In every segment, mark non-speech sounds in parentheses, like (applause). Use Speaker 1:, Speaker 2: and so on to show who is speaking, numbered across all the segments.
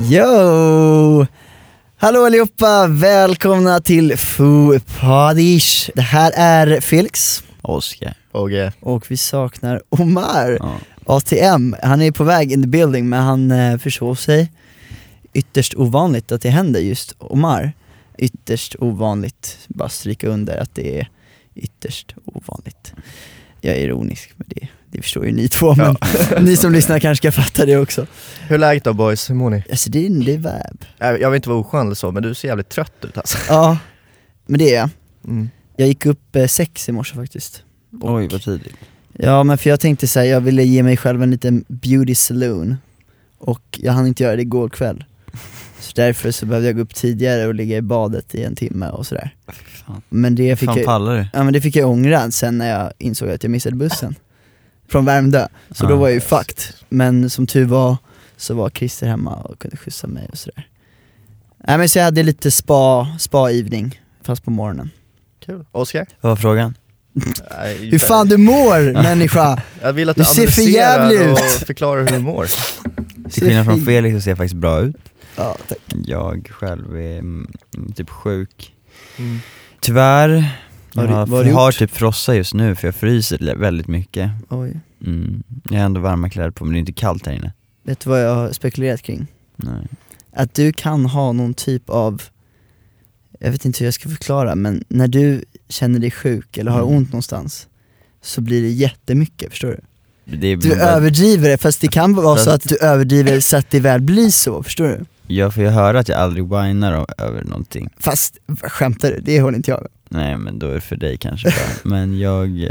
Speaker 1: Yo! Hallå allihopa! Välkomna till Foo Padish. Det här är Felix
Speaker 2: Oskar. Åge.
Speaker 1: och vi saknar Omar, ATM. Han är på väg in the building men han eh, försov sig. Ytterst ovanligt att det händer just Omar. Ytterst ovanligt, bara stryka under att det är ytterst ovanligt. Jag är ironisk med det, det förstår ju ni två men (laughs) ni som lyssnar kanske ska fatta det också.
Speaker 2: Hur är läget då boys? Hur mår ni?
Speaker 1: Alltså det är en liv
Speaker 2: Äh, Jag vill inte vara oskön eller så, men du ser jävligt trött ut alltså.
Speaker 1: Ja, men det är jag.
Speaker 2: Mm.
Speaker 1: Jag gick upp eh, sex i morse faktiskt.
Speaker 3: Oj vad tidigt.
Speaker 1: Ja men för jag tänkte säga jag ville ge mig själv en liten beauty saloon och jag hann inte göra det igår kväll. Så därför så behövde jag gå upp tidigare och ligga i badet i en timme och sådär.
Speaker 3: Fan.
Speaker 1: Men det fick,
Speaker 3: Fan
Speaker 1: jag,
Speaker 3: pallar du?
Speaker 1: ja, men det fick jag ångra sen när jag insåg att jag missade bussen från Värmdö. Så då
Speaker 3: Ah.
Speaker 1: var jag ju fucked. Men som tur var så var Christer hemma och kunde skjutsa mig och sådär. Nej men så jag hade lite spa, spa-evening fast på morgonen.
Speaker 2: Kul. Oskar?
Speaker 3: Vad var frågan?
Speaker 2: Nej,
Speaker 1: Hur fan
Speaker 3: (laughs)
Speaker 1: du mår människa!
Speaker 2: Jag vill att
Speaker 1: Du
Speaker 2: du,
Speaker 1: ser för
Speaker 2: analyserar
Speaker 1: jävlig
Speaker 2: och
Speaker 1: ut. (laughs)
Speaker 2: förklarar hur du mår.
Speaker 3: Till skillnad
Speaker 1: Ser
Speaker 3: från
Speaker 1: fin-
Speaker 3: Felix så ser jag faktiskt bra ut.
Speaker 1: Ja, tack.
Speaker 3: Jag själv är mm, typ sjuk. Tyvärr, jag
Speaker 1: Mm. Vad har du-
Speaker 3: har,
Speaker 1: vad har du
Speaker 3: har
Speaker 1: gjort?
Speaker 3: typ frossa just nu för jag fryser li- väldigt mycket.
Speaker 1: Oj.
Speaker 3: Mm. Jag har ändå varma kläder på men det är inte kallt här inne.
Speaker 1: Vet du vad jag har spekulerat kring?
Speaker 3: Nej.
Speaker 1: Att du kan ha någon typ av, jag vet inte hur jag ska förklara, men när du känner dig sjuk eller har
Speaker 3: Mm.
Speaker 1: ont någonstans så blir det jättemycket, förstår du?
Speaker 3: Det är
Speaker 1: Du överdriver det, fast det kan vara så att du överdriver så att det väl blir så, förstår du?
Speaker 3: Jag får ju höra att jag aldrig whinar o- över någonting.
Speaker 1: Fast, skämtar du? Det håller inte jag med.
Speaker 3: Nej men då är det för dig kanske
Speaker 1: (laughs)
Speaker 3: bara. Men jag, eh,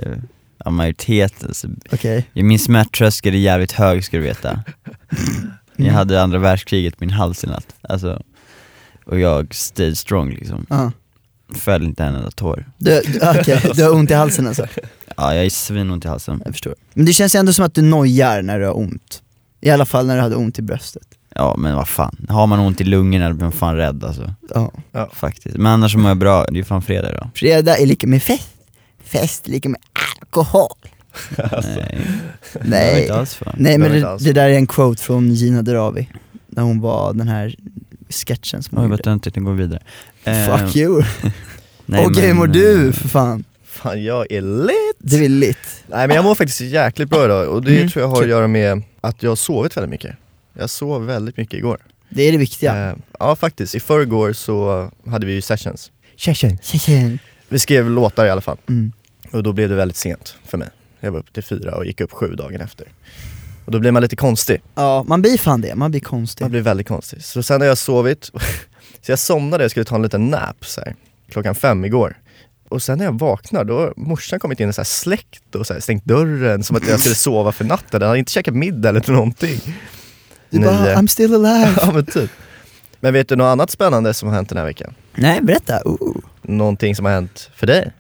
Speaker 3: ja, majoriteten, så-
Speaker 1: Okej.
Speaker 3: min smärttröskel är jävligt hög ska du veta. Jag
Speaker 1: Mm.
Speaker 3: hade andra världskriget på min hals i natt, alltså, och jag stayed strong liksom,
Speaker 1: Ja.
Speaker 3: föll inte en enda tår.
Speaker 1: Du, du- okej, du har ont i halsen alltså?
Speaker 3: Ja, jag är svinont i halsen.
Speaker 1: Jag förstår. Men det känns ändå som att du nojar när du har ont. I alla fall när du hade ont i bröstet.
Speaker 3: Ja men vad fan, har man ont i lungorna då blir man fan rädd alltså,
Speaker 1: Ja.
Speaker 3: faktiskt. Men annars så mår jag bra, det är ju fan fredag
Speaker 1: (laughs)
Speaker 3: idag.
Speaker 1: Fredag är lika med fest, fest är lika med alkohol.
Speaker 3: Nej, det var
Speaker 1: Alltså. Nej,
Speaker 3: inte alls för.
Speaker 1: Nej men
Speaker 2: Det var inte
Speaker 1: det,
Speaker 2: alls.
Speaker 1: det där är en quote från Gina Dirawi, när hon var den här sketchen som
Speaker 3: Oj vad
Speaker 1: hon gjorde.
Speaker 3: töntigt, den går vidare. Eh,
Speaker 1: Fuck you,
Speaker 3: nej,
Speaker 1: okej
Speaker 3: men,
Speaker 1: mår
Speaker 3: eh,
Speaker 1: du för fan?
Speaker 2: Fan jag är lit!
Speaker 1: Det är väl lit?
Speaker 2: Nej men jag mår faktiskt jäkligt bra idag och det
Speaker 1: Mm,
Speaker 2: tror jag har
Speaker 1: kul.
Speaker 2: att göra med att jag har sovit väldigt mycket. Jag sov väldigt mycket igår.
Speaker 1: Det är det viktiga.
Speaker 2: Eh, ja faktiskt, i förrgår så hade vi ju sessions. Sessions?
Speaker 1: Tjejen.
Speaker 2: Vi skrev låtar i alla fall.
Speaker 1: Mm.
Speaker 2: Och då blev det väldigt sent för mig. Jag var uppe till fyra och gick upp sju dagen efter. Och då blir man lite konstig.
Speaker 1: Ja, man blir fan det, man blir konstig.
Speaker 2: Man blir väldigt konstig. Så sen har jag sovit, (laughs) så jag somnade och skulle ta en liten nap så här, klockan fem igår. Och sen när jag vaknar, då har morsan kommit in och så här släckt och så här, stängt dörren som att jag skulle sova för natten. Den hade inte käkat middag eller någonting.
Speaker 1: Du
Speaker 2: Ni,
Speaker 1: bara,
Speaker 2: eh, (laughs)
Speaker 1: I'm still alive.
Speaker 2: ja men typ. Men vet du något annat spännande som har hänt den här veckan?
Speaker 1: Nej berätta, Uh, Ooh.
Speaker 2: Någonting som har hänt för dig?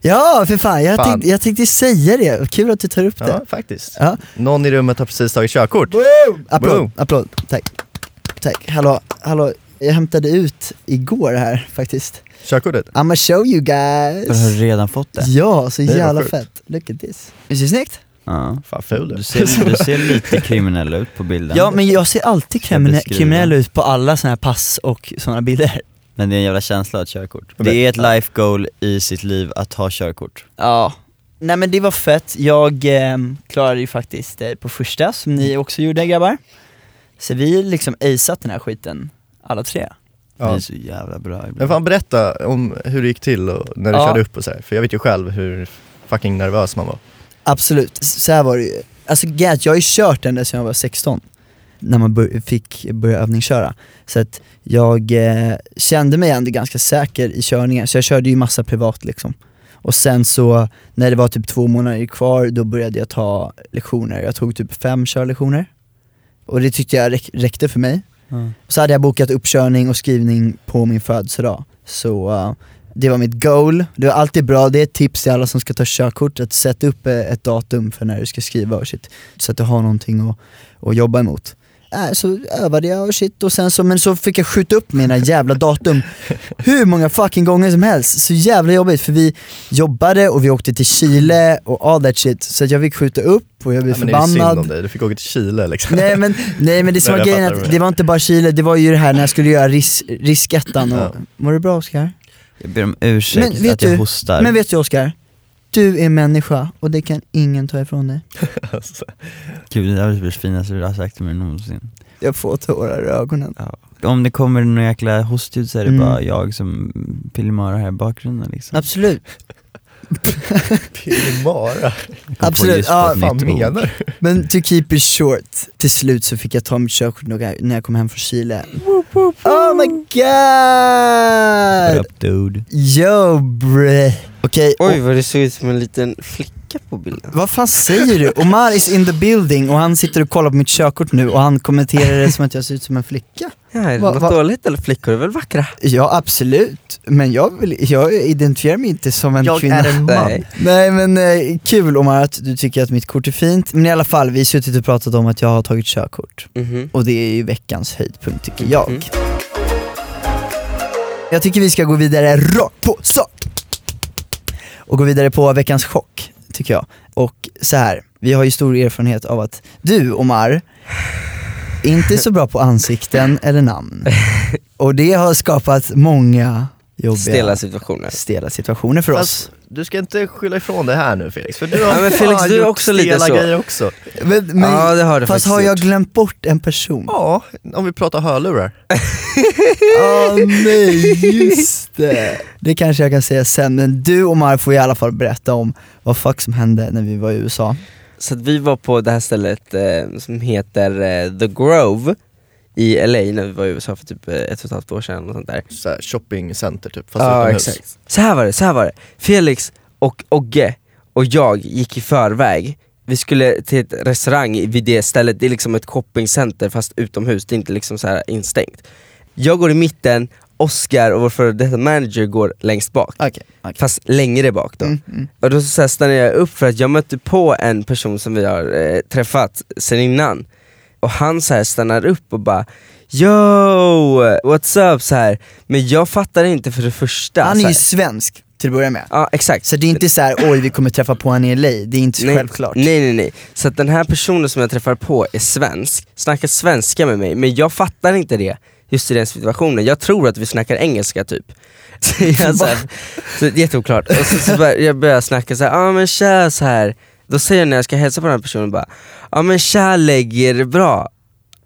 Speaker 1: Ja för fan, jag,
Speaker 2: Fan.
Speaker 1: Tänkte, jag tänkte säga det, kul att du tar upp
Speaker 2: Ja,
Speaker 1: det.
Speaker 2: faktiskt.
Speaker 1: Ja.
Speaker 2: Någon i rummet har precis tagit körkort.
Speaker 1: Applåd,
Speaker 2: Boom.
Speaker 1: applåd, tack. Tack, hallå, hallå. Jag hämtade ut igår här faktiskt.
Speaker 2: Körkortet?
Speaker 1: I'mma show you
Speaker 3: Du har
Speaker 1: guys.
Speaker 3: redan fått det?
Speaker 1: Ja, så
Speaker 2: Det var
Speaker 1: jävla
Speaker 2: sjukt.
Speaker 1: fett. Look at this. Visst är det snyggt?
Speaker 3: Ja.
Speaker 2: Fan ful
Speaker 3: Du
Speaker 2: (laughs)
Speaker 3: ser, du ser
Speaker 1: (laughs)
Speaker 3: lite kriminell ut på bilden.
Speaker 1: Ja men jag ser alltid
Speaker 3: Ska jag
Speaker 1: krimine-
Speaker 3: beskriva?
Speaker 1: kriminell ut på alla såna här pass och såna bilder.
Speaker 3: Men det är en jävla känsla att ha ett körkort. Det är ett life goal i sitt liv att ha körkort.
Speaker 1: Ja. Nej men det var fett, jag eh, klarade ju faktiskt eh, på första som ni också gjorde grabbar. Så vi liksom aceat den här skiten, alla tre.
Speaker 3: Det
Speaker 2: Ja.
Speaker 3: är så jävla bra ibland.
Speaker 2: Men fan berätta om hur det gick till och när du
Speaker 1: Ja.
Speaker 2: körde upp och sådär, för jag vet ju själv hur fucking nervös man var.
Speaker 1: Absolut, S- så här var det ju. Alltså grejen är att jag har ju kört ända sedan jag var 16, när man bör- fick börja övningsköra. Så att jag eh, kände mig ändå ganska säker i körningen, så jag körde ju massa privat liksom. Och sen så, när det var typ två månader kvar, då började jag ta lektioner. Jag tog typ fem körlektioner Och det tyckte jag räck- räckte för mig. Så hade jag bokat uppkörning och skrivning på min födelsedag. Så eh, det var mitt goal. Det var alltid bra, det är ett tips till alla som ska ta körkort, att sätta upp eh, ett datum för när du ska skriva och shit. Så att du har någonting att, att jobba emot. Äh, så övade jag och shit och sen så, men så fick jag skjuta upp mina jävla
Speaker 2: (laughs)
Speaker 1: datum hur många fucking gånger som helst. Så jävla jobbigt för vi jobbade och vi åkte till Chile och all that shit. Så att jag fick skjuta upp och jag blev
Speaker 2: Ja, men det är ju synd om
Speaker 1: förbannad.
Speaker 2: dig, du fick åka till Chile liksom. (laughs)
Speaker 1: Nej men, nej men det som
Speaker 2: Nej,
Speaker 1: var
Speaker 2: jag
Speaker 1: grejen
Speaker 2: fattar
Speaker 1: att
Speaker 2: vad
Speaker 1: det
Speaker 2: du
Speaker 1: var inte bara Chile, det var ju det här när jag skulle göra ris, riskettan och...
Speaker 2: Ja.
Speaker 1: Mår du bra Oskar?
Speaker 3: Jag ber om ursäkt
Speaker 1: Men vet
Speaker 3: att jag
Speaker 1: du-
Speaker 3: hostar.
Speaker 1: Men vet du Oskar? Du är människa och det kan ingen ta ifrån dig.
Speaker 2: Alltså,
Speaker 3: Gud, det där var det finaste du har sagt till mig någonsin.
Speaker 1: Jag får tårar i ögonen.
Speaker 3: Om det kommer någon jäkla hostljud så är det
Speaker 1: Mm.
Speaker 3: bara jag som pillemörar här i bakgrunden liksom.
Speaker 1: Absolut,
Speaker 2: Pillemara,
Speaker 3: Jag kom på
Speaker 1: absolut.
Speaker 3: just på
Speaker 1: Ja,
Speaker 3: ett
Speaker 2: vad
Speaker 3: nytt
Speaker 2: fan
Speaker 3: ord.
Speaker 2: menar du?
Speaker 1: men to keep it short. Till slut så fick jag ta mitt körkort några- när jag kom hem från Chile. Oh my
Speaker 3: What
Speaker 1: god!
Speaker 3: up, dude?
Speaker 1: Yo bre. Okej,
Speaker 4: Oj vad det såg ut som en liten flicka på bilden.
Speaker 1: Vad fan säger du? Omar is in the building och han sitter och kollar på mitt körkort nu och han kommenterar det som att jag ser ut som en flicka.
Speaker 4: Ja, är det
Speaker 1: Va-
Speaker 4: något
Speaker 1: va-
Speaker 4: dåligt eller flickor är väl vackra?
Speaker 1: Ja absolut, men jag, vill, jag identifierar mig inte som en
Speaker 2: Jag
Speaker 1: kvinna.
Speaker 2: är en man.
Speaker 4: Nej.
Speaker 1: Nej men eh, kul Omar att du tycker att mitt kort är fint. Men i alla fall, vi har suttit och pratat om att jag har tagit körkort.
Speaker 4: Mhm.
Speaker 1: Och det är ju veckans höjdpunkt tycker jag.
Speaker 4: Mhm.
Speaker 1: Jag tycker vi ska gå vidare rakt på sak. Och gå vidare på veckans chock, tycker jag. Och så här, vi har ju stor erfarenhet av att du Omar, inte är så bra på
Speaker 4: (laughs)
Speaker 1: ansikten eller namn. Och det har skapat många jobbiga,
Speaker 4: Stela situationer.
Speaker 1: stela situationer för oss.
Speaker 2: Fast du ska inte skylla ifrån det här nu Felix, för du har
Speaker 4: Ja, men Felix,
Speaker 2: fan
Speaker 4: du är
Speaker 2: gjort
Speaker 4: också lite
Speaker 2: stela
Speaker 4: så.
Speaker 2: grejer också.
Speaker 1: Men, men,
Speaker 4: Ja, det har du
Speaker 1: fast
Speaker 4: faktiskt
Speaker 1: har jag
Speaker 4: gjort.
Speaker 1: glömt bort en person?
Speaker 2: Ja, om vi pratar hörlurar.
Speaker 1: Ah, nej, just det. Det kanske jag kan säga sen, men du Omar får i alla fall berätta om vad fuck som hände när vi var i USA.
Speaker 4: Så att vi var på det här stället eh, som heter eh, The Grove i LA när vi var i USA för typ eh, ett och ett halvt år sedan och sånt där.
Speaker 2: Så här, shoppingcenter typ, fast
Speaker 4: Ja,
Speaker 2: utomhus.
Speaker 4: exakt. Så här var det, så här var det. Felix och Ogge och jag gick i förväg. Vi skulle till ett restaurang i- vid det stället, det är liksom ett shoppingcenter fast utomhus, det är inte liksom så här instängt. Jag går i mitten, Oscar och vår före detta manager går längst bak.
Speaker 1: Okej. Mm,
Speaker 4: Fast längre bak då. Och då så så här stannade jag upp för att jag mötte på en person som vi har eh, träffat sen innan. Och han så här stannar upp och bara Yo, what's up? Så här. Men jag fattar inte för det första.
Speaker 1: Han
Speaker 4: så
Speaker 1: är
Speaker 4: här.
Speaker 1: ju svensk till att börja med.
Speaker 4: Ja exakt.
Speaker 1: Så det är inte så här: oj vi kommer träffa på honom i LA, det är inte så
Speaker 4: nej,
Speaker 1: självklart.
Speaker 4: Nej nej nej. Så att den här personen som jag träffar på är svensk, snackar svenska med mig, men jag fattar inte det just i den situationen. Jag tror att vi snackar engelska typ. (laughs) Så jag så här, så det är jätteoklart. Och så, så bör, jag börjar snacka så här, ja ah, men tja så här. Då säger jag när jag ska hälsa på den här personen bara, ja ah, men tja Leggy, är det bra?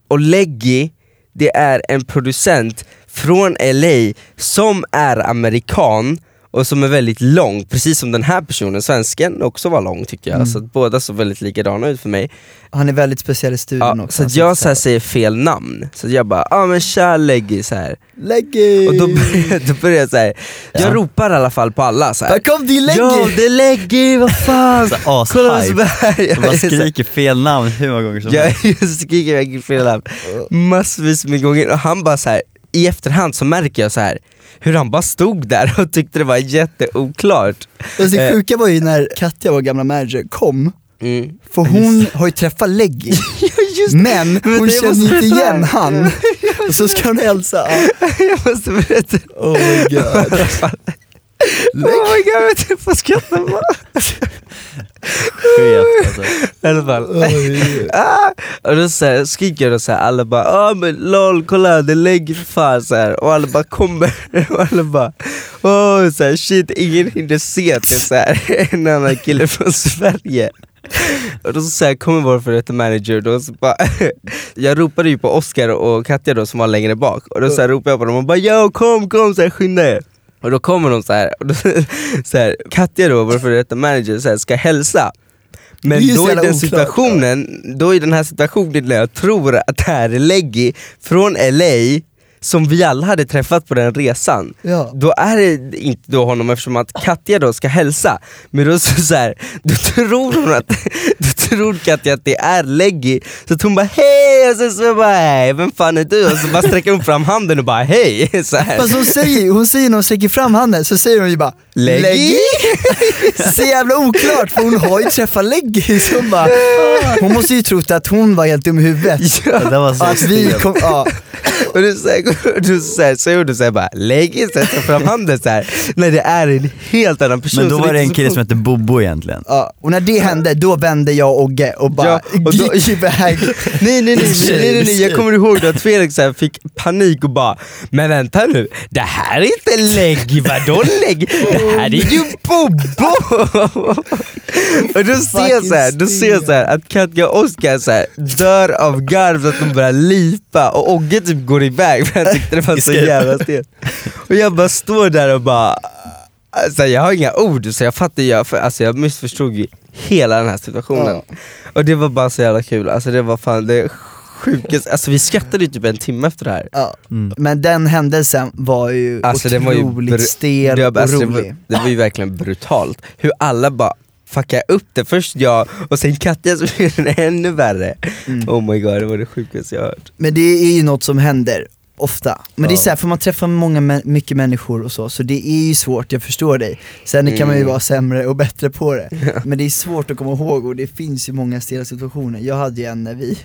Speaker 4: Och Leggy, det är en producent från LA som är amerikan och som är väldigt lång, precis som den här personen, svensken, också var lång tycker jag. Så att båda såg väldigt likadana ut för mig.
Speaker 1: Han är väldigt speciell i studion
Speaker 4: Ja,
Speaker 1: också.
Speaker 4: så att jag så här säger fel namn, så att jag bara ah, men tja Leggy” så här.
Speaker 1: Leggy!
Speaker 4: Och då börjar, (laughs) då börjar jag så här. jag ropar i alla fall på alla så här.
Speaker 1: Där kom din Leggy!
Speaker 4: Ja, det är Leggy, vad
Speaker 1: (laughs)
Speaker 4: fan!
Speaker 3: Så
Speaker 4: Kolla vad som
Speaker 3: ashype.
Speaker 4: händer. (laughs)
Speaker 3: Man skriker fel namn hur många gånger som
Speaker 4: Jag
Speaker 3: helst.
Speaker 4: skriker verkligen fel namn massvis med gånger och han bara så här. i efterhand så märker jag så här hur han bara stod där och tyckte det var jätteoklart.
Speaker 1: Och det
Speaker 4: Eh.
Speaker 1: sjuka var ju när Katja, vår gamla manager, kom,
Speaker 4: (laughs) Mm.
Speaker 1: för hon har ju träffat
Speaker 4: (laughs)
Speaker 1: Leggy. Men
Speaker 4: Men
Speaker 1: hon
Speaker 4: det
Speaker 1: känner
Speaker 4: måste
Speaker 1: inte
Speaker 4: jag
Speaker 1: igen
Speaker 4: säga.
Speaker 1: han. Och så ska hon hälsa.
Speaker 4: (laughs) Jag måste berätta.
Speaker 1: Oh my god.
Speaker 4: Oh my god, jag vet inte vad jag skrattar på.
Speaker 3: Skevt alltså.
Speaker 4: I alla fall. Ah! Och då så här, skriker jag och så här, alla bara ah men lol kolla det lägger för fan så här. Och alla bara kommer (laughs) och alla bara åh så här, shit ingen hinner se att det är så här, (laughs) en annan kille från Sverige. Och då så här, kommer vår före detta manager då så bara (laughs) Jag ropade ju på Oscar och Katja då som var längre bak och då så här, ropade jag på dem och bara yo kom kom så här, skynda er. Och då kommer de så här, och då, (laughs) så här Katja då vår före detta manager så här, ska hälsa.
Speaker 1: Det är
Speaker 4: Men
Speaker 1: ju så
Speaker 4: då i
Speaker 1: jävla
Speaker 4: den
Speaker 1: oklart.
Speaker 4: situationen, då i den här situationen när jag tror att det här är Leggy från LA som vi alla hade träffat på den resan.
Speaker 1: Ja.
Speaker 4: Då är det inte då honom eftersom att (laughs) Katja då ska hälsa, men då så, så här, då tror hon att, då tror Katja att det är Leggy. Så att hon bara hej, och sen så jag bara hej, vem fan är du? Och så bara sträcker hon fram handen och bara hej. Så här.
Speaker 1: Fast hon säger hon säger när hon sträcker fram handen, så säger hon ju bara Leggy? (laughs) så jävla oklart, för hon har ju träffat Leggy. Så hon, bara, hon måste ju trott att hon var helt dum i huvudet.
Speaker 4: Ja.
Speaker 2: Det där var så
Speaker 1: Att vi
Speaker 2: stelt.
Speaker 1: kom, ja.
Speaker 4: (laughs) Och du säger, du säger, så gjorde du såhär bara, lägg in sig fram handen såhär. När det är en helt annan person.
Speaker 3: Men då
Speaker 4: så
Speaker 3: var det
Speaker 4: är
Speaker 3: en
Speaker 4: inte så
Speaker 3: kille som hette Bobo egentligen.
Speaker 1: Ja, och när det hände, då vände jag och Ogge och bara
Speaker 4: Ja, och då-
Speaker 1: gick iväg.
Speaker 4: (laughs) Nej nej nej, nej, nej, nej, nej. jag kommer ihåg då att Felix så här fick panik och bara Men vänta nu, det här är inte lägg, vadå lägg? Det här är ju Bobo! (laughs) och då ser jag så här, då ser jag så här att Katja och Oskar så här, dör av garv så att de börjar lipa och Ogge typ går iväg för han tyckte det var så jävla stelt. Och jag bara står där och bara Alltså jag har inga ord, så jag fattar jag, för, alltså jag missförstod ju hela den här situationen. Och det var bara så jävla kul, alltså det var fan det sjukaste, alltså vi skrattade ju typ en timme efter det här.
Speaker 1: Ja. Men den händelsen var ju
Speaker 4: Mm. Alltså det var ju
Speaker 1: otroligt
Speaker 4: bru-
Speaker 1: stel
Speaker 4: det,
Speaker 1: och
Speaker 4: var, alltså, det,
Speaker 1: rolig.
Speaker 4: var, det var ju verkligen brutalt, hur alla bara fuckade upp det, först jag och sen Katja som (laughs) gjorde det ännu värre.
Speaker 1: Mm.
Speaker 4: Oh my god, det var det sjukaste jag hört.
Speaker 1: Men det är ju något som händer ofta. Men det är
Speaker 4: Ja.
Speaker 1: så här, för man träffar många, mä- mycket människor och så, så det är ju svårt, jag förstår dig. Sen kan man ju
Speaker 4: Mm.
Speaker 1: vara sämre och bättre på
Speaker 4: (laughs)
Speaker 1: det. Men det är svårt att komma ihåg och det finns ju många stela situationer. Jag hade ju en när vi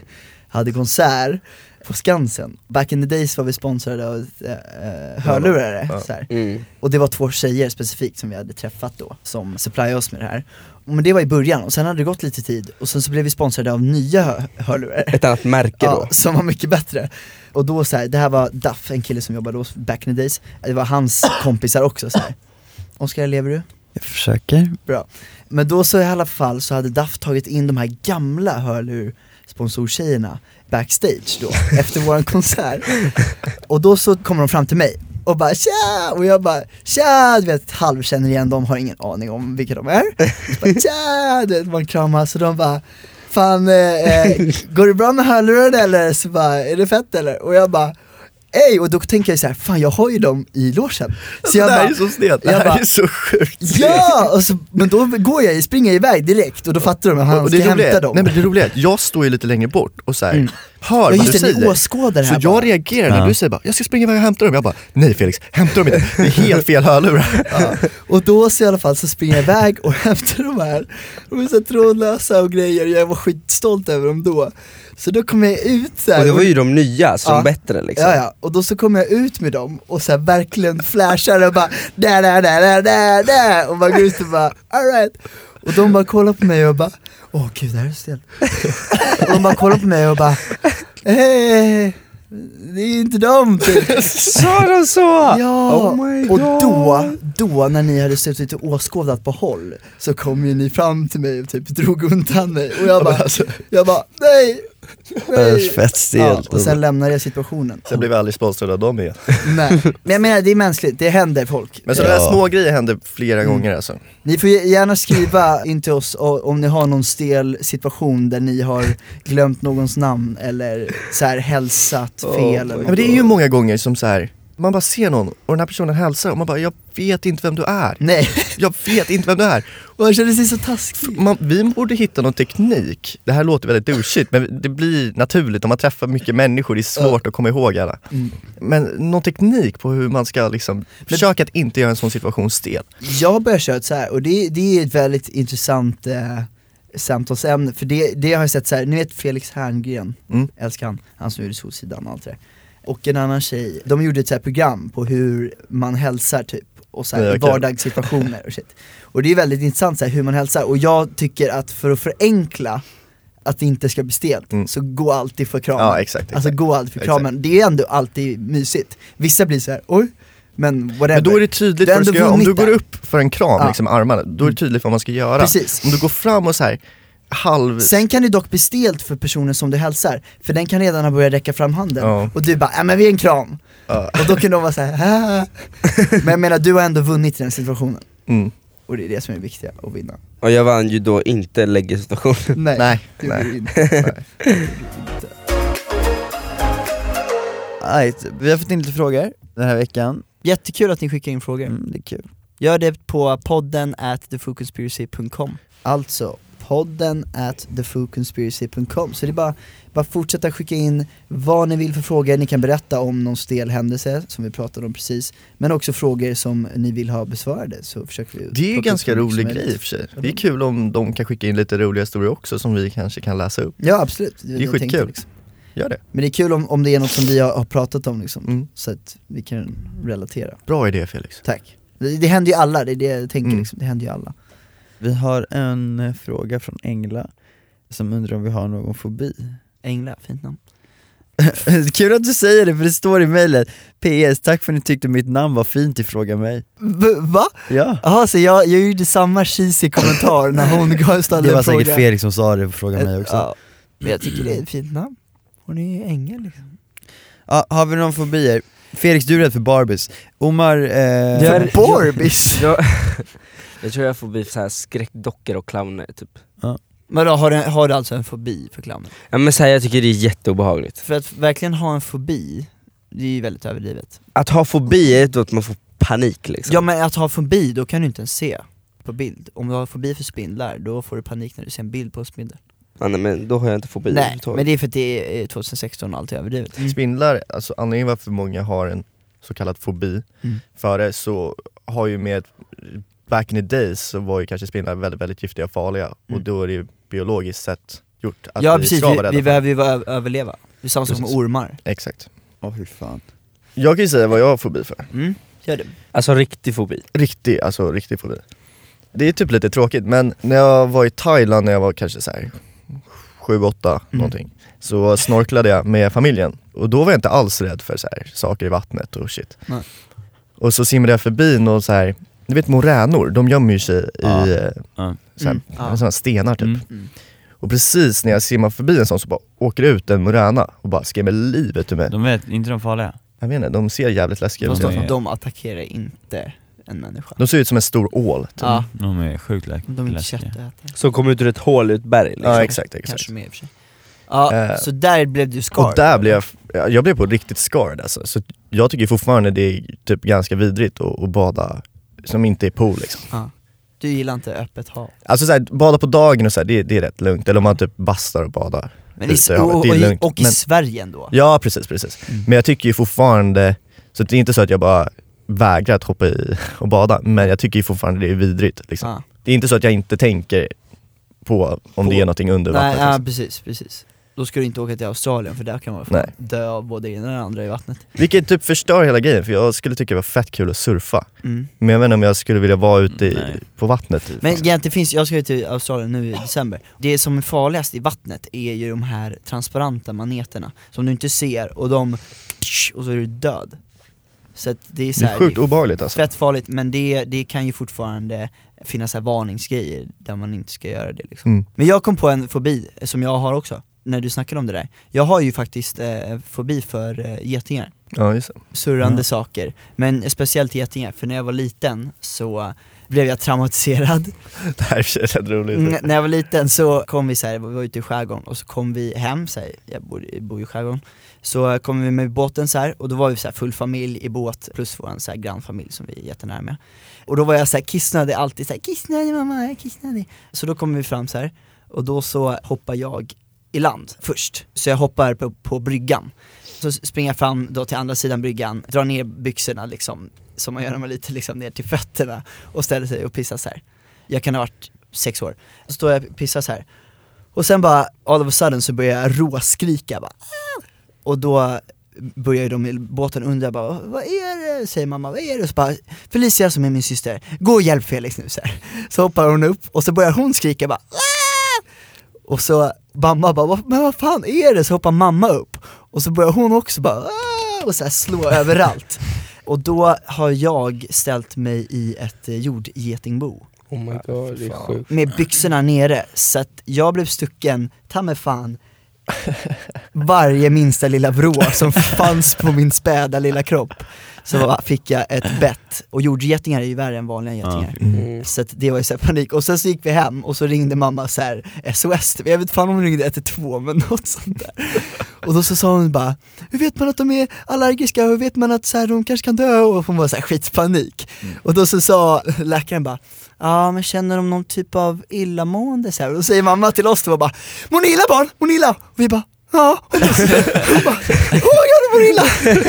Speaker 1: hade konsert på Skansen. Back in the days var vi sponsrade av äh, hörlurare. Så här.
Speaker 4: Mm.
Speaker 1: Och det var två tjejer specifikt som vi hade träffat då, som supplyade oss med det här. Men det var i början, och sen hade det gått lite tid, och sen så blev vi sponsrade av nya hö- hörlurar
Speaker 4: Ett annat märke då.
Speaker 1: ja, som var mycket bättre. Och då så här, det här var Duff, en kille som jobbade hos back in the days, det var hans kompisar också så här. Oskar, lever du?
Speaker 3: Jag försöker.
Speaker 1: Bra. Men då så i alla fall så hade Duff tagit in de här gamla hörlur sponsortjejerna backstage
Speaker 2: (laughs)
Speaker 1: då, efter våran konsert. Och då så kommer de fram till mig och bara tja! Och jag bara tja! Du vet, halvkänner igen dem, har ingen aning om vilka de är. Så Bara, tja! Du vet, man kramas och de bara Fan, eh, eh, går det bra med hörlurarna eller? Så bara, är det fett eller? Och jag bara Ey! Och då tänker jag så här, fan jag har ju dem i logen. Så jag
Speaker 2: det här är
Speaker 1: bara,
Speaker 2: ju så stelt, det
Speaker 1: jag
Speaker 2: här
Speaker 1: bara-
Speaker 2: är så sjukt (laughs)
Speaker 1: Ja! Och så, men då går jag, springer jag iväg direkt och då fattar de att han
Speaker 2: och
Speaker 1: ska
Speaker 2: det
Speaker 1: hämta
Speaker 2: roliga är,
Speaker 1: dem. Mm.
Speaker 2: nej men det roliga är att jag står ju lite längre bort och såhär, hör
Speaker 1: ja
Speaker 2: vad du
Speaker 1: just det, ni
Speaker 2: säger
Speaker 1: åskådar
Speaker 2: Så
Speaker 1: här bara.
Speaker 2: jag reagerar när du säger bara, jag ska springa iväg och hämta dem, jag bara, nej Felix, hämta dem inte, det är helt fel hörlurar
Speaker 1: Och då så i alla fall så springer jag iväg och (laughs) hämtar de här. De är så här trådlösa och grejer och jag var skitstolt över dem då. Så då kom jag ut så här,
Speaker 4: Och det var ju de nya, så
Speaker 1: Ja.
Speaker 4: de bättre liksom.
Speaker 1: Ja, ja, och då så kommer jag ut med dem och så här verkligen flashar och bara där, där, där, där, där, där och bara går ut och bara alright. Och de bara kollar på mig och bara åh gud det här är så stelt. och de bara kollar på mig och bara eh, det är inte dem typ.
Speaker 4: Sa de så?
Speaker 1: Ja,
Speaker 4: Oh my
Speaker 1: och
Speaker 4: God.
Speaker 1: då, då när ni hade suttit och åskådat på håll så kom ju ni fram till mig och typ drog undan mig och jag bara,
Speaker 4: alltså.
Speaker 1: jag bara nej, nej.
Speaker 3: Fett
Speaker 1: Ja,
Speaker 3: stelt.
Speaker 1: och sen lämnade jag situationen.
Speaker 2: Sen blev jag aldrig sponsrad av dem igen
Speaker 1: Nej, men jag menar det är mänskligt, det händer folk. Eh,
Speaker 2: Men sådana där små grejer händer flera
Speaker 1: Mm.
Speaker 2: gånger alltså
Speaker 1: Ni får ge- gärna skriva in till oss o- om ni har någon stel situation där ni har glömt någons namn eller så här hälsat fel
Speaker 4: Oh
Speaker 1: eller
Speaker 4: my
Speaker 2: Ja, men
Speaker 1: något.
Speaker 2: det är ju många gånger som så här. man bara ser någon och den här personen hälsar och man bara, jag vet inte vem du är.
Speaker 1: Nej, (laughs)
Speaker 2: Jag vet inte vem du är.
Speaker 1: och jag känner sig så taskig.
Speaker 2: Man, vi borde hitta någon teknik, det här låter väldigt douchigt men det blir naturligt om man träffar mycket människor, det är svårt att komma ihåg alla.
Speaker 1: Mm.
Speaker 2: Men någon teknik på hur man ska liksom, försöka att inte göra en sån situation stel.
Speaker 1: Jag börjar köra så här och det, det är ett väldigt intressant eh, samtalsämne, för det, det har jag sett så här. ni vet Felix Herngren,
Speaker 2: Mm.
Speaker 1: älskar han, han som gjorde Solsidan och allt det där. Och en annan tjej, de gjorde ett så här program på hur man hälsar typ, och så här,
Speaker 2: Ja, okej.
Speaker 1: vardagssituationer och shit. Och det är väldigt intressant så här, hur man hälsar, och jag tycker att för att förenkla att det inte ska bli stelt,
Speaker 2: Mm.
Speaker 1: så gå alltid för kramen.
Speaker 2: Ja, exakt, exakt.
Speaker 1: Alltså gå alltid för
Speaker 2: Exakt.
Speaker 1: kramen, det är ändå alltid mysigt. Vissa blir så här, oj, men whatever.
Speaker 2: Men då är det tydligt
Speaker 1: Du har
Speaker 2: vad du
Speaker 1: ändå
Speaker 2: ska göra, om
Speaker 1: vunnit
Speaker 2: du går
Speaker 1: där.
Speaker 2: upp för en kram,
Speaker 1: Ja. Mm.
Speaker 2: liksom armarna, då är det tydligt vad man ska göra.
Speaker 1: Precis.
Speaker 2: Om du går fram och så här halv...
Speaker 1: Sen kan det dock bli stelt för personen som du hälsar, för den kan redan ha börjat räcka fram handen
Speaker 2: Ja.
Speaker 1: och du bara äh, men vi är en kram”
Speaker 2: Ja.
Speaker 1: och då kan de vara såhär äh. Men jag menar, du har ändå vunnit i den situationen
Speaker 2: Mm.
Speaker 1: och det är det som är viktiga, att vinna
Speaker 4: Och jag vann ju då inte läggsituationen.
Speaker 1: Nej,
Speaker 2: Nej,
Speaker 1: det
Speaker 2: nej.
Speaker 1: gjorde du
Speaker 2: (laughs)
Speaker 1: inte.
Speaker 3: Right. Vi har fått in lite frågor den här veckan.
Speaker 1: Jättekul att ni skickar in frågor,
Speaker 3: Mm, det är kul.
Speaker 1: gör det på podden at thefocuspiracy.com Alltså, podden at thefoodconspiracy.com Så det är bara, bara fortsätta skicka in vad ni vill för frågor, ni kan berätta om någon stel händelse som vi pratade om precis Men också frågor som ni vill ha besvarade så försöker vi
Speaker 2: Det är ju
Speaker 1: plocka upp så
Speaker 2: ganska
Speaker 1: mycket som Mm.
Speaker 2: rolig
Speaker 1: möjligt.
Speaker 2: grej i och för sig. Det är kul om de kan skicka in lite roliga historier också som vi kanske kan läsa upp.
Speaker 1: Ja absolut, det,
Speaker 2: är
Speaker 1: jag tänkte
Speaker 2: skitkul.
Speaker 1: liksom.
Speaker 2: Gör det.
Speaker 1: Men det är kul om, om det är något som vi har, har pratat om liksom,
Speaker 2: Mm.
Speaker 1: så att vi kan relatera
Speaker 2: Bra idé Felix.
Speaker 1: Tack. Det, det händer ju alla, det är det jag tänker
Speaker 2: Mm.
Speaker 1: liksom. det händer ju alla.
Speaker 3: Vi har en eh, fråga från Engla som undrar om vi har någon fobi.
Speaker 1: Ängla, fint namn.
Speaker 3: (laughs) Kul att du säger det för det står i mejlet. PS, tack för att ni tyckte mitt namn var fint i Fråga mig.
Speaker 1: V- va?
Speaker 3: Ja.
Speaker 1: Jaha, så jag, jag gjorde samma cheesy kommentar
Speaker 3: (laughs)
Speaker 1: när hon gav ställde
Speaker 3: Det var
Speaker 1: en fråga.
Speaker 3: säkert Felix som sa det på Fråga mig också.
Speaker 1: Ja, men jag tycker det är ett fint namn. Hon är ju ängel liksom.
Speaker 3: Ja, har vi någon fobier? Felix, du är rädd för Barbies. Omar, eh,
Speaker 4: Jag är-
Speaker 1: För Borbis!
Speaker 4: (laughs) Jag, jag tror jag får bli så här skräckdockor och clowner typ.
Speaker 1: Men då har du, har du alltså en fobi för clowner?
Speaker 4: Ja, men så här, jag tycker det är jätteobehagligt.
Speaker 1: För att verkligen ha en fobi, det är ju väldigt överdrivet.
Speaker 4: Att ha fobi är då att man får panik liksom.
Speaker 1: Ja men att ha fobi, då kan du inte ens se på bild. Om du har fobi för spindlar, då får du panik när du ser en bild på spindlar.
Speaker 4: Ja, nej, men då har jag inte fobi
Speaker 1: Nej,
Speaker 4: överhuvudtaget.
Speaker 1: men det är för att det är 2016 och allt är överdrivet.
Speaker 2: Spindlar, alltså anledningen varför många har en så kallad fobi
Speaker 1: Mm.
Speaker 2: för det så har ju med, back in the days så var ju kanske spindlar väldigt, väldigt giftiga och farliga och
Speaker 1: Mm.
Speaker 2: då är det ju biologiskt sett gjort att
Speaker 1: ja
Speaker 2: vi
Speaker 1: precis,
Speaker 2: ska vara
Speaker 1: vi,
Speaker 2: rädda
Speaker 1: vi
Speaker 2: för
Speaker 1: behöver ju vara ö- överleva. Det är samma sak med
Speaker 2: Precis.
Speaker 1: ormar.
Speaker 2: det. Exakt.
Speaker 3: Åh fy fan.
Speaker 2: Jag kan ju säga vad jag har fobi för.
Speaker 1: Mm, gör det.
Speaker 4: Alltså riktig fobi.
Speaker 2: Riktig, alltså riktig fobi. Det är typ lite tråkigt men när jag var i Thailand när jag var kanske så här 7-8 någonting så snorklade jag med familjen och då var jag inte alls rädd för så här, saker i vattnet och shit.
Speaker 1: Nej.
Speaker 2: Och så simmade jag förbi någon så här, du vet moränor, de gömmer ju sig
Speaker 3: Ja.
Speaker 2: i eh,
Speaker 3: Ja.
Speaker 2: så här,
Speaker 1: Mm. Ja.
Speaker 2: såna här stenar typ.
Speaker 3: Mm.
Speaker 1: Mm.
Speaker 2: Och precis när jag simmar förbi en sån så bara åker det ut en moräna och bara skrämmer livet ur mig.
Speaker 5: De vet, inte de farliga?
Speaker 2: Jag vet inte, de ser jävligt läskiga
Speaker 1: De,
Speaker 2: ut.
Speaker 5: Fast
Speaker 1: de,
Speaker 5: är-
Speaker 1: de attackerar inte en människa.
Speaker 2: De ser ut som en stor ål. Typ.
Speaker 1: Ja,
Speaker 5: De är sjukt läk-
Speaker 1: de är inte
Speaker 5: läskiga.
Speaker 1: köttätare.
Speaker 4: Som kommer ut ur ett hål i ett berg liksom.
Speaker 2: Ja exakt, exakt.
Speaker 1: Kanske mer i och för sig. Ja,
Speaker 2: Eh,
Speaker 1: så där blev du scarred.
Speaker 2: Och där blev jag, ja, jag blev på riktigt scarred alltså. Så jag tycker fortfarande det är typ ganska vidrigt att, att bada som inte är pool liksom.
Speaker 1: Ja. Du gillar inte öppet hav.
Speaker 2: Alltså såhär, bada på dagen och så här, det, det är rätt lugnt. Eller om man typ bastar och badar.
Speaker 1: Men i,
Speaker 2: ute i
Speaker 1: och,
Speaker 2: havet,
Speaker 1: och,
Speaker 2: det är
Speaker 1: i-
Speaker 2: lugnt.
Speaker 1: och i
Speaker 2: Men-
Speaker 1: Sverige ändå.
Speaker 2: Ja precis, precis.
Speaker 1: Mm.
Speaker 2: Men jag tycker ju fortfarande, så det är inte så att jag bara vägrar att hoppa i (laughs) och bada, men jag tycker ju fortfarande det är vidrigt liksom.
Speaker 1: Ja.
Speaker 2: Det är inte så att jag inte tänker på om det
Speaker 1: På-
Speaker 2: är någonting under
Speaker 1: Nej,
Speaker 2: vattnet.
Speaker 1: ja,
Speaker 2: liksom.
Speaker 1: precis, precis. Då ska du inte åka till Australien för där kan man fan
Speaker 2: Nej.
Speaker 1: dö av både det ena och det andra i vattnet.
Speaker 2: Vilket typ förstör hela grejen, för jag skulle tycka det var fett kul att surfa.
Speaker 1: Mm.
Speaker 2: Men jag vet inte om jag skulle vilja vara ute i,
Speaker 5: Nej.
Speaker 2: på vattnet. typ.
Speaker 1: Men egentligen det finns, jag ska ju till Australien nu i december, det som är farligast i vattnet är ju de här transparenta maneterna som du inte ser och de, och så är du död. Så att det är så
Speaker 2: Det
Speaker 1: här,
Speaker 2: är sjukt
Speaker 1: det är
Speaker 2: obehagligt alltså.
Speaker 1: fett farligt men det, det kan ju fortfarande finnas så här varningsgrejer där man inte ska göra det liksom.
Speaker 2: Mm.
Speaker 1: Men jag kom på en fobi eh, som jag har också, när du snackade om det där. Jag har ju faktiskt eh, fobi för eh, getingar
Speaker 2: Ja, just det.
Speaker 1: surrande
Speaker 3: Ja.
Speaker 1: saker, men speciellt getingar, för när jag var liten så blev jag traumatiserad.
Speaker 2: (laughs) Det här är i och för sig rätt roligt.
Speaker 1: N- när jag var liten så kom vi så här, vi var ute i skärgården och så kom vi hem så här, jag bor, jag bor ju i skärgården, så kom vi med båten så här och då var vi så här full familj i båt plus vår så här grannfamilj som vi är jättenära med. Och då var jag så här kissnödig alltid, så här, kissnödig mamma, jag är kissnödig. Så då kommer vi fram så här och då så hoppar jag i land först, så jag hoppar på, på bryggan. Så springer jag fram då till andra sidan bryggan, drar ner byxorna liksom, som man gör när man är lite liksom ner till fötterna och ställer sig och pissar så här. Jag kan ha varit sex år. Så står jag och pissar så här. Och sen bara, all of a sudden så börjar jag råskrika bara. "Ah!" Och då börjar ju de i båten undra bara, vad är det? Säger mamma, vad är det? Och så bara, Felicia som är min syster, gå och hjälp Felix nu så här. Så hoppar hon upp och så börjar hon skrika bara, "Ah!" Och så mamma bara, "Vad- men vad fan är det? Så hoppar mamma upp och så börjar hon också bara, "Ah!" och så här slå överallt. Och då har jag ställt mig i ett eh, jordgetingbo
Speaker 4: Oh my god, det är sjukt.
Speaker 1: med byxorna nere, så att jag blev stucken, ta mig fan, varje minsta lilla vrå som fanns på min späda lilla kropp. Så fick jag ett bett, och jordgetingar är ju värre än vanliga getingar. Så att det var ju så här panik, och sen så gick vi hem och så ringde mamma så här SOS, jag vet fan om hon ringde 112 men något sånt där. Och då så sa hon bara, hur vet man att de är allergiska, Mm. hur vet man att så här, de kanske kan dö? Och hon var så här skitpanik. Och då så sa läkaren bara, ja men känner de någon typ av illamående så här? Och då säger mamma till oss då bara, mår ni illa barn? Mår ni illa? Och vi bara, ja. Hon bara, hon bara, åh jag (laughs) mår illa!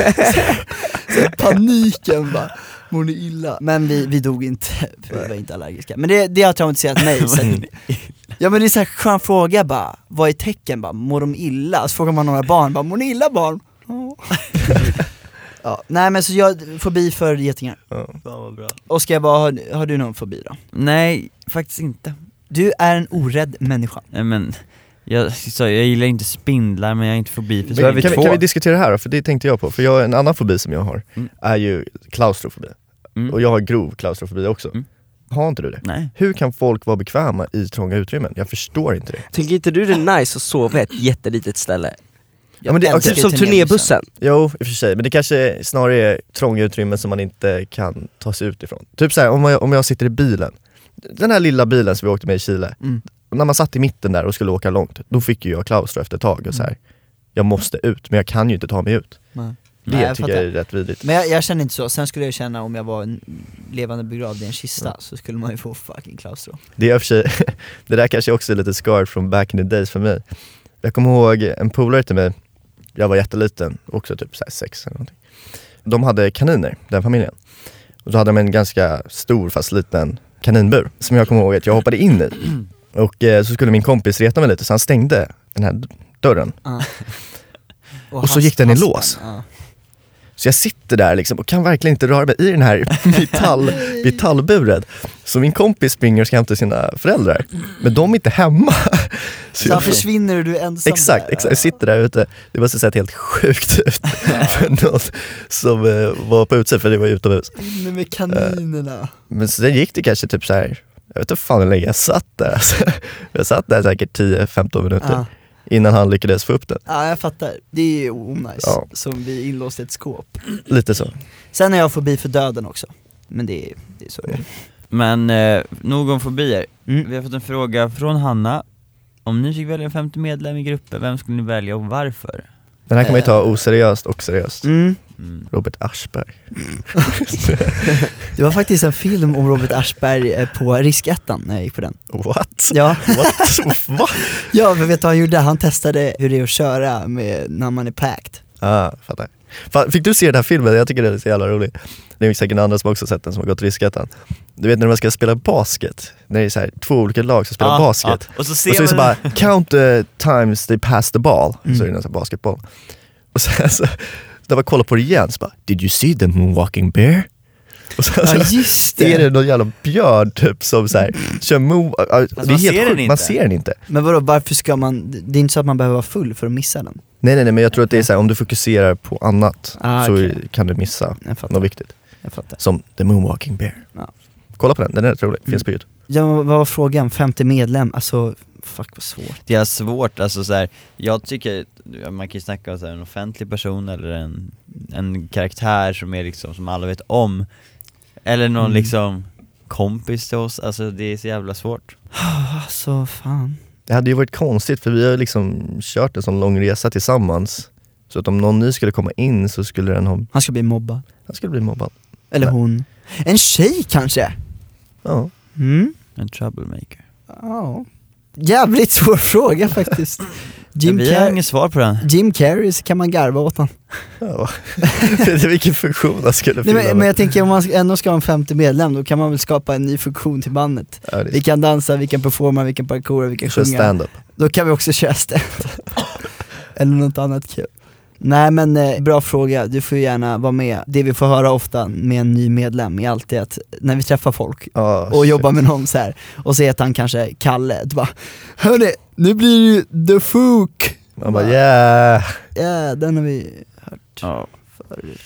Speaker 1: Så, så paniken bara. Mår ni illa? Men vi, vi dog inte, vi var inte allergiska. Men det, det har traumatiserat mig. Så att, (laughs) ja men det är så här skön fråga bara, vad är tecken? Bara, mår de illa? Så frågar man några barn, bara, mår ni illa barn? Ja. (laughs) ja, nej men så jag, fobi för getingar. Oskar, vad har, har du någon fobi då?
Speaker 5: Nej, faktiskt inte.
Speaker 1: Du är en orädd människa.
Speaker 5: Nej men, jag, så, jag gillar inte spindlar men jag är inte fobi för
Speaker 2: Men
Speaker 5: spindlar.
Speaker 2: kan, vi, kan vi diskutera det här då? För det tänkte jag på, för jag, en annan fobi som jag har
Speaker 5: Mm.
Speaker 2: är ju klaustrofobi.
Speaker 5: Mm.
Speaker 2: Och jag har grov klaustrofobi också.
Speaker 5: Mm.
Speaker 2: Har inte du det?
Speaker 5: Nej.
Speaker 2: Hur kan folk vara bekväma i trånga utrymmen? Jag förstår inte det.
Speaker 4: Tycker inte du det är nice att sova i ett jättelitet ställe?
Speaker 2: Ja, men det,
Speaker 1: älskar
Speaker 4: Typ som turnébussen.
Speaker 2: Jo, i och för sig, men det kanske snarare är trånga utrymmen som man inte kan ta sig ut ifrån. Typ såhär, om jag, om jag sitter i bilen, den här lilla bilen som vi åkte med i Chile,
Speaker 1: Mm.
Speaker 2: när man satt i mitten där och skulle åka långt, då fick ju jag klaustro efter ett tag och så
Speaker 1: Mm.
Speaker 2: här. jag måste ut, men jag kan ju inte ta mig ut.
Speaker 1: Nej.
Speaker 2: Det
Speaker 1: Nej, jag
Speaker 2: tycker jag är rätt vidrigt.
Speaker 1: Men jag, jag känner inte så, sen skulle jag känna om jag var en levande begravd i en kista så skulle man ju få fucking klaustro.
Speaker 2: Det, är i och för sig, (laughs) det där kanske också är lite scarred från back in the days för mig. Jag kommer ihåg en polare till mig, jag var jätteliten, också typ så här sex eller någonting. De hade kaniner, den familjen. Och då hade de en ganska stor fast liten kaninbur som jag kommer ihåg att jag hoppade in i. (clears throat) Och eh, så skulle min kompis reta mig lite så han stängde den här dörren. Och så
Speaker 1: hans-
Speaker 2: gick den i
Speaker 1: hans-
Speaker 2: lås.
Speaker 1: Ja.
Speaker 2: Så jag sitter där liksom och kan verkligen inte röra mig i den här (laughs)
Speaker 1: (laughs)
Speaker 2: metall, metallburen. Så min kompis springer och ska hämta sina föräldrar, men de är inte hemma. (laughs)
Speaker 1: Så han försvinner och du är ensam
Speaker 2: Typ. Exakt,
Speaker 1: där.
Speaker 2: exakt. Jag sitter där ute, det måste sett helt sjukt ut
Speaker 1: (laughs)
Speaker 2: för någon som eh, var på utsidan, för det var ju utomhus.
Speaker 1: Inne med kaninerna.
Speaker 2: Men sen gick det kanske typ så här. jag vet inte fan hur länge jag satt där. (laughs) Alltså, jag satt där säkert 10-15 minuter
Speaker 1: Ja.
Speaker 2: innan han lyckades få upp den.
Speaker 1: ja jag fattar, det är ju onajs,
Speaker 2: Ja.
Speaker 1: som vi är inlåsta i ett skåp.
Speaker 2: Lite så.
Speaker 1: Sen har jag fobi för döden också, men det är, det är så det är.
Speaker 5: Men eh, nog om fobier.
Speaker 1: Mm.
Speaker 5: Vi har fått en fråga från Hanna. Om ni fick välja en femte medlem i gruppen, vem skulle ni välja och varför?
Speaker 2: Den här kan man ju ta oseriöst och seriöst.
Speaker 1: Eh. Mm.
Speaker 5: Mm.
Speaker 2: Robert Aschberg.
Speaker 1: Det var faktiskt en film om Robert Aschberg eh, på Riskettan när jag gick på den.
Speaker 2: What?
Speaker 1: Ja.
Speaker 2: (laughs) What? Va?
Speaker 1: Ja, men vet du vad han gjorde? Han testade hur det är att köra med, när man är packed.
Speaker 2: Ah, fattar. Fan, fick du se den här filmen? Jag tycker den är så jävla rolig. Det är säkert andra som också har sett den som har gått Riskettan. Du vet när man ska spela basket, när det är så här, två olika lag som spelar
Speaker 5: Ja,
Speaker 2: basket.
Speaker 5: ja. Ah, Och så ser
Speaker 2: Och så är det så
Speaker 5: man- Mm.
Speaker 2: bara, count the times they pass the ball, så är det någon sån här basketboll. Och sen så, (laughs) alltså, när man kollar på det igen så bara, did you see the moonwalking bear? Och sen,
Speaker 1: Ja
Speaker 2: så,
Speaker 1: just
Speaker 2: är det
Speaker 1: det!
Speaker 2: någon jävla björn typ som så här, kör mo- det är
Speaker 5: Mm. man
Speaker 2: helt
Speaker 5: ser den
Speaker 2: sjukt, man
Speaker 5: inte.
Speaker 2: ser den inte.
Speaker 1: Men vadå, varför ska man, det är inte så att man behöver vara full för att missa den?
Speaker 2: Nej nej nej men jag tror att det är så här, om du fokuserar på annat
Speaker 1: Ah,
Speaker 2: så
Speaker 1: okej.
Speaker 2: kan du missa
Speaker 1: Jag fattar,
Speaker 2: något viktigt.
Speaker 1: jag fattar.
Speaker 2: Som The Moonwalking Bear.
Speaker 1: Ja. Mm.
Speaker 2: Kolla på den, den är rätt rolig, finns på youtube.
Speaker 1: Ja, men vad var frågan? 50 medlem, alltså fuck vad svårt.
Speaker 5: Det är svårt, alltså så här, jag tycker, man kan ju snacka om så här, en offentlig person eller en, en karaktär som är liksom, som alla vet om Eller någon
Speaker 1: Mm.
Speaker 5: liksom kompis till oss, alltså det är så jävla svårt
Speaker 1: Alltså fan.
Speaker 2: Det hade ju varit konstigt för vi har ju liksom kört en sån lång resa tillsammans. Så att om någon ny skulle komma in så skulle den ha,
Speaker 1: Han ska bli mobbad.
Speaker 2: han skulle bli mobbad.
Speaker 1: Eller
Speaker 2: Nej.
Speaker 1: hon. En tjej kanske?
Speaker 2: Ja.
Speaker 1: Mm.
Speaker 5: En troublemaker
Speaker 1: Ja. Jävligt svår fråga faktiskt. Jim,
Speaker 5: Men Vi har
Speaker 1: Car-
Speaker 5: inget svar på den
Speaker 1: Jim Carrey så kan man garva åt honom.
Speaker 2: (laughs) ja. Jag vet inte Vilken funktion han skulle
Speaker 1: Nej,
Speaker 2: fylla.
Speaker 1: men, men jag tänker om man ska- ändå ska ha en 50 medlem, då kan man väl skapa en ny funktion till bandet.
Speaker 2: ja, det
Speaker 1: Vi kan dansa, vi kan performa, vi kan parkoura, vi kan
Speaker 2: är kör
Speaker 1: sjunga.
Speaker 2: stand-up.
Speaker 1: Då kan vi också köra stand (laughs) Eller något annat kul. Nej men eh, bra fråga, du får ju gärna vara med. Det vi får höra ofta med en ny medlem är alltid att när vi träffar folk
Speaker 2: Ja,
Speaker 1: och
Speaker 2: Ah, shit.
Speaker 1: jobbar med någon så här och ser att han kanske är Kalle, då bara Hörni, nu blir det ju The Fook!
Speaker 2: Man bara yeah.
Speaker 1: Ja, den har vi hört
Speaker 5: Ja,
Speaker 1: förut.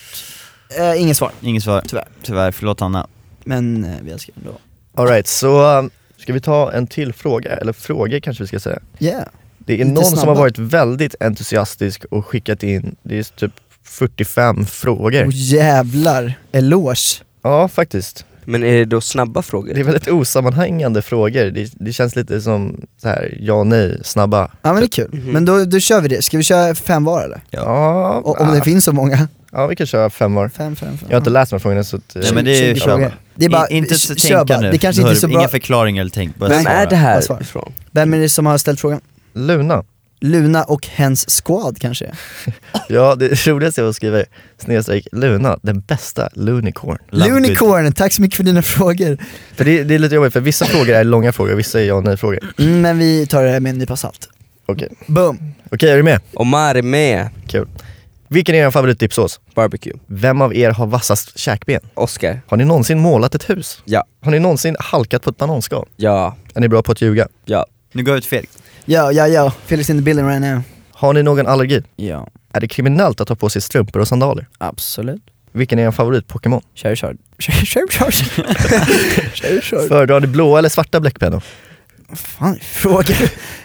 Speaker 1: Eh, inget svar,
Speaker 5: inget svar
Speaker 1: Tyvärr.
Speaker 5: Tyvärr, förlåt Hanna
Speaker 1: men eh, vi älskar ändå.
Speaker 2: Alright, så um, ska vi ta en till fråga, eller frågor kanske vi ska säga.
Speaker 1: Yeah.
Speaker 2: Det är
Speaker 1: Lite
Speaker 2: någon som har
Speaker 1: snabba.
Speaker 2: varit väldigt entusiastisk och skickat in, det är typ 45 frågor.
Speaker 1: Och jävlar, eloge.
Speaker 2: Ja faktiskt.
Speaker 4: Men är det då snabba frågor?
Speaker 2: Det är väldigt osammanhängande frågor, det, det känns lite som så här, ja nej, snabba.
Speaker 1: Ja men det är kul.
Speaker 4: Mhm.
Speaker 1: Men då, då kör vi det, ska vi köra fem var eller?
Speaker 2: Ja,
Speaker 1: O- om det
Speaker 2: ah,
Speaker 1: finns så många.
Speaker 2: Ja vi kan köra fem var.
Speaker 1: Fem, fem, fem.
Speaker 2: Jag har inte läst de här frågorna så att... eh,
Speaker 5: Nej men det är ju
Speaker 1: 20
Speaker 2: kör
Speaker 1: frågor.
Speaker 2: bara.
Speaker 1: Det är bara,
Speaker 5: I, inte
Speaker 1: kö-
Speaker 5: så
Speaker 1: kör
Speaker 5: tänka
Speaker 1: bara.
Speaker 5: nu,
Speaker 1: Det kanske inte är så
Speaker 5: Hör- Inga
Speaker 1: bra.
Speaker 5: förklaringar eller tänk, bara
Speaker 4: Vem
Speaker 5: svara.
Speaker 4: är det
Speaker 1: Bara
Speaker 4: här
Speaker 1: svara.
Speaker 4: ifrån?
Speaker 1: Vem är det som har ställt frågan?
Speaker 2: Luna.
Speaker 1: Luna och hens squad kanske?
Speaker 2: Ja det (laughs) roligaste är att skriva snedstreck Luna, den bästa Lunicorn.
Speaker 5: Lampigt.
Speaker 1: Lunicorn, tack så mycket för dina frågor.
Speaker 2: För det, det är lite jobbigt för vissa frågor är långa frågor, vissa är ja och nej frågor.
Speaker 1: Mm, men vi tar det här med en nypa salt.
Speaker 2: Okej,
Speaker 1: Boom!
Speaker 2: okej är du med?
Speaker 4: Omar är med,
Speaker 2: Kul. Vilken är er favoritdippsås?
Speaker 4: barbecue.
Speaker 2: Vem av er har vassast käkben?
Speaker 4: Oscar,
Speaker 2: Har ni någonsin målat ett hus?
Speaker 4: ja,
Speaker 2: Har ni någonsin halkat på ett bananskal?
Speaker 4: ja,
Speaker 2: Är ni bra på att ljuga?
Speaker 4: ja.
Speaker 5: Nu går jag ut fel.
Speaker 1: Ja, ja, ja. Felix in the building right now.
Speaker 2: Har ni någon allergi?
Speaker 3: Ja,
Speaker 2: Är det kriminellt att ha på sig strumpor och sandaler?
Speaker 3: absolut.
Speaker 2: Vilken är er favorit-Pokémon?
Speaker 3: Kör, kör.
Speaker 2: Föredrar ni blåa eller svarta bläckpennor?
Speaker 1: Fan, fråga.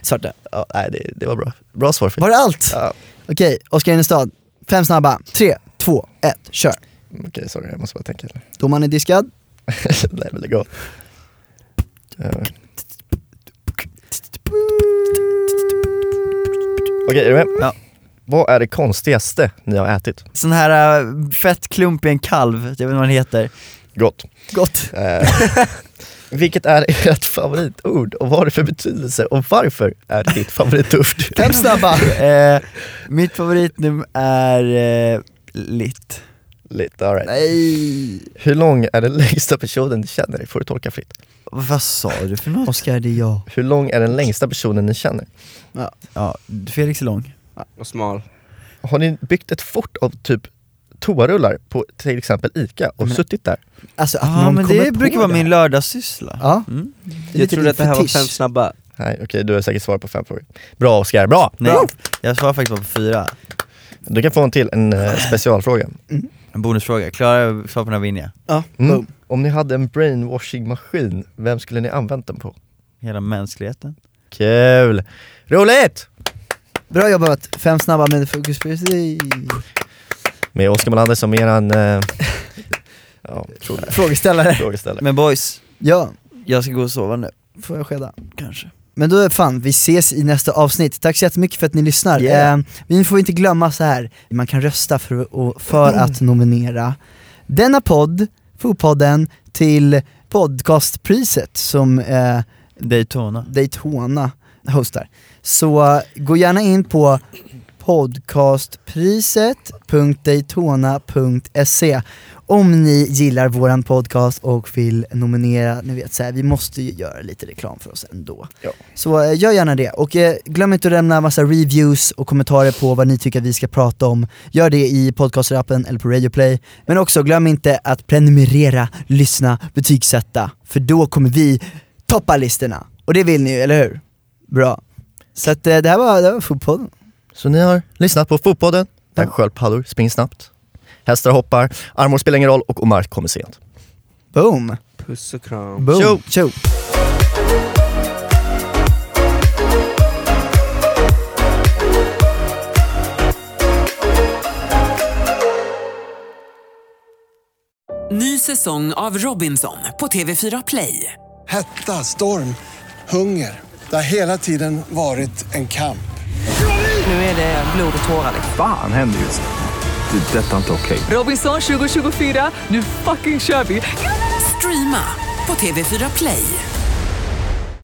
Speaker 3: Svarta.
Speaker 2: Ja, nej, det, det var bra. Bra svar Filip.
Speaker 1: Var det allt?
Speaker 2: Ja,
Speaker 1: Okej, Oskar Enestad. Fem snabba. Tre, två, ett, kör.
Speaker 2: Okej, sorry. Jag måste bara tänka. (laughs) lite.
Speaker 1: Domaren är diskad.
Speaker 2: nej, men lägg av. Eh, Okej, är du med?
Speaker 5: Ja.
Speaker 2: Vad är det konstigaste ni har ätit?
Speaker 5: Sån här äh, fett klump i en kalv, jag vet inte vad den heter.
Speaker 2: Gott.
Speaker 1: Gott.
Speaker 2: Eh, vilket är ert favoritord och vad har det för betydelse och varför är det ditt favoritord? (laughs)
Speaker 1: Fem snabba.
Speaker 5: eh, mitt favoritnummer är eh, Litt.
Speaker 2: Lite, all right.
Speaker 1: Nej.
Speaker 2: Hur lång är den längsta personen ni känner? Det får du tolka fritt.
Speaker 5: Vad sa du för något?
Speaker 1: Oskar, det är jag.
Speaker 2: Hur lång är den längsta personen ni känner?
Speaker 5: Ja, Felix är lång.
Speaker 4: Och smal.
Speaker 2: Har ni byggt ett fort av typ toarullar på till exempel ICA och suttit där?
Speaker 1: Alltså att
Speaker 5: Ja
Speaker 1: någon
Speaker 5: men
Speaker 1: kommer
Speaker 5: det
Speaker 1: på
Speaker 5: brukar vara
Speaker 1: det.
Speaker 5: min lördagssyssla.
Speaker 1: Ja,
Speaker 5: Mm.
Speaker 1: det är
Speaker 4: Jag
Speaker 1: lite
Speaker 4: trodde att det här var
Speaker 1: fetisch.
Speaker 4: fem snabba.
Speaker 2: Nej okej, du har säkert svar på fem frågor. Bra Oskar, bra!
Speaker 5: Nej, jag svarar faktiskt bara på fyra.
Speaker 2: Du kan få en till, en eh, specialfråga.
Speaker 5: En bonusfråga, klarar jag svar på den här vinner jag.
Speaker 1: Ja,
Speaker 2: Mm.
Speaker 1: boom.
Speaker 2: Om ni hade en brainwashing-maskin, vem skulle ni använt den på?
Speaker 5: Hela mänskligheten.
Speaker 2: Kul! Roligt!
Speaker 1: Bra jobbat, fem snabba med fokus på dig.
Speaker 2: Med Oskar Melander som eran... Eh, (laughs) ja, fråga-
Speaker 1: Frågeställare.
Speaker 2: frågeställare.
Speaker 5: Men boys,
Speaker 1: Ja,
Speaker 5: jag ska gå och sova nu,
Speaker 1: får jag skeda?
Speaker 5: kanske.
Speaker 1: Men då är fan, vi ses i nästa avsnitt. Tack så jättemycket för att ni lyssnar.
Speaker 2: Yeah.
Speaker 1: Eh, vi får inte glömma så här. man kan rösta för, och, för att nominera denna podd, Fotpodden, till podcastpriset som eh,
Speaker 5: Daytona.
Speaker 1: Daytona hostar. Så eh, gå gärna in på podcastpriset.daytona.se om ni gillar våran podcast och vill nominera, ni vet så här, vi måste ju göra lite reklam för oss ändå.
Speaker 2: Ja.
Speaker 1: Så eh, gör gärna det, och eh, glöm inte att lämna massa reviews och kommentarer på vad ni tycker att vi ska prata om. Gör det i podcastrappen eller på Radioplay. Men också glöm inte att prenumerera, lyssna, betygsätta, för då kommer vi toppa listorna. Och det vill ni ju, eller hur? Bra. Så att, eh, det här var, det här var fotboll.
Speaker 2: Så ni har lyssnat på Fotpodden, där
Speaker 1: Ja.
Speaker 2: sköldpaddor springer snabbt, hästar hoppar, armor spelar ingen roll och Omar kommer sent.
Speaker 1: Boom!
Speaker 4: Puss och kram.
Speaker 1: Boom!
Speaker 2: Tjo.
Speaker 1: Tjo.
Speaker 6: Ny säsong av Robinson på TV4 Play.
Speaker 7: Hetta, storm, hunger. Det har hela tiden varit en kamp.
Speaker 6: Nu är det blod och tårar.
Speaker 8: Fan händer just det. Det är detta inte okej.
Speaker 6: Robinson 2024, nu fucking kör vi! Streama på TV4 Play.